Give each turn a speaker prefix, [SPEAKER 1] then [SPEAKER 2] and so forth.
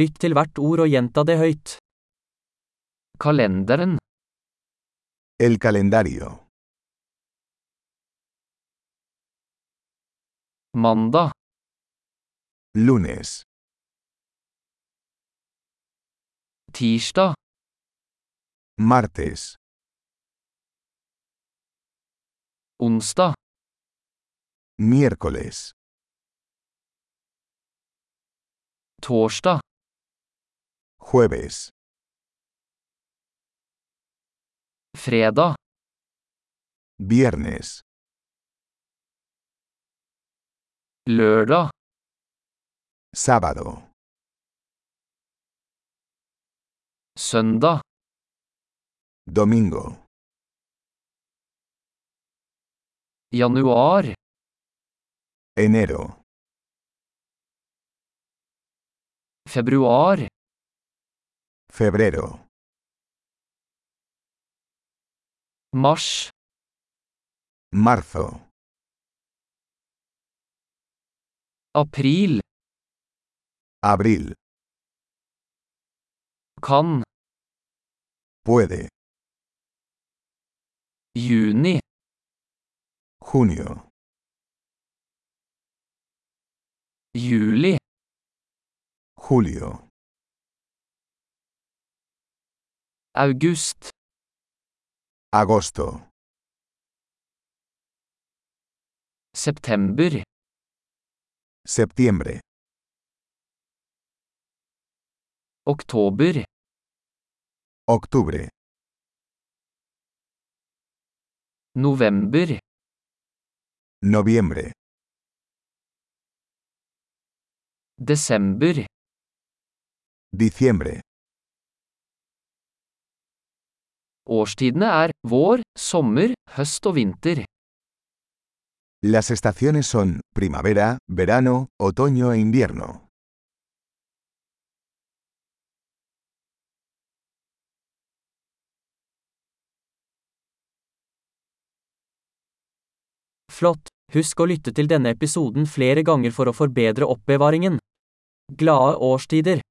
[SPEAKER 1] Lytt til hvert ord og gjenta det høyt. Kalenderen,
[SPEAKER 2] El calendario.
[SPEAKER 1] mandag,
[SPEAKER 2] Lunes,
[SPEAKER 1] tirsdag,
[SPEAKER 2] martes,
[SPEAKER 1] onsdag,
[SPEAKER 2] miércoles,
[SPEAKER 1] torsdag,
[SPEAKER 2] jueves,
[SPEAKER 1] fredag,
[SPEAKER 2] viernes,
[SPEAKER 1] lørdag,
[SPEAKER 2] sábado,
[SPEAKER 1] søndag,
[SPEAKER 2] domingo,
[SPEAKER 1] januar,
[SPEAKER 2] enero,
[SPEAKER 1] februar,
[SPEAKER 2] febrero,
[SPEAKER 1] mars,
[SPEAKER 2] marzo,
[SPEAKER 1] april,
[SPEAKER 2] abril,
[SPEAKER 1] kan,
[SPEAKER 2] puede,
[SPEAKER 1] juni,
[SPEAKER 2] junio,
[SPEAKER 1] juli,
[SPEAKER 2] julio,
[SPEAKER 1] august,
[SPEAKER 2] agosto,
[SPEAKER 1] september,
[SPEAKER 2] septiembre,
[SPEAKER 1] oktober,
[SPEAKER 2] octubre,
[SPEAKER 1] november,
[SPEAKER 2] noviembre,
[SPEAKER 1] desember,
[SPEAKER 2] diciembre.
[SPEAKER 1] årstidene er vår, sommer, høst og vinter.
[SPEAKER 2] Las estaciones son primavera, verano, otoño e invierno.
[SPEAKER 1] Flott! Husk å lytte til denne episoden flere ganger for å forbedre oppbevaringen. Glade årstider!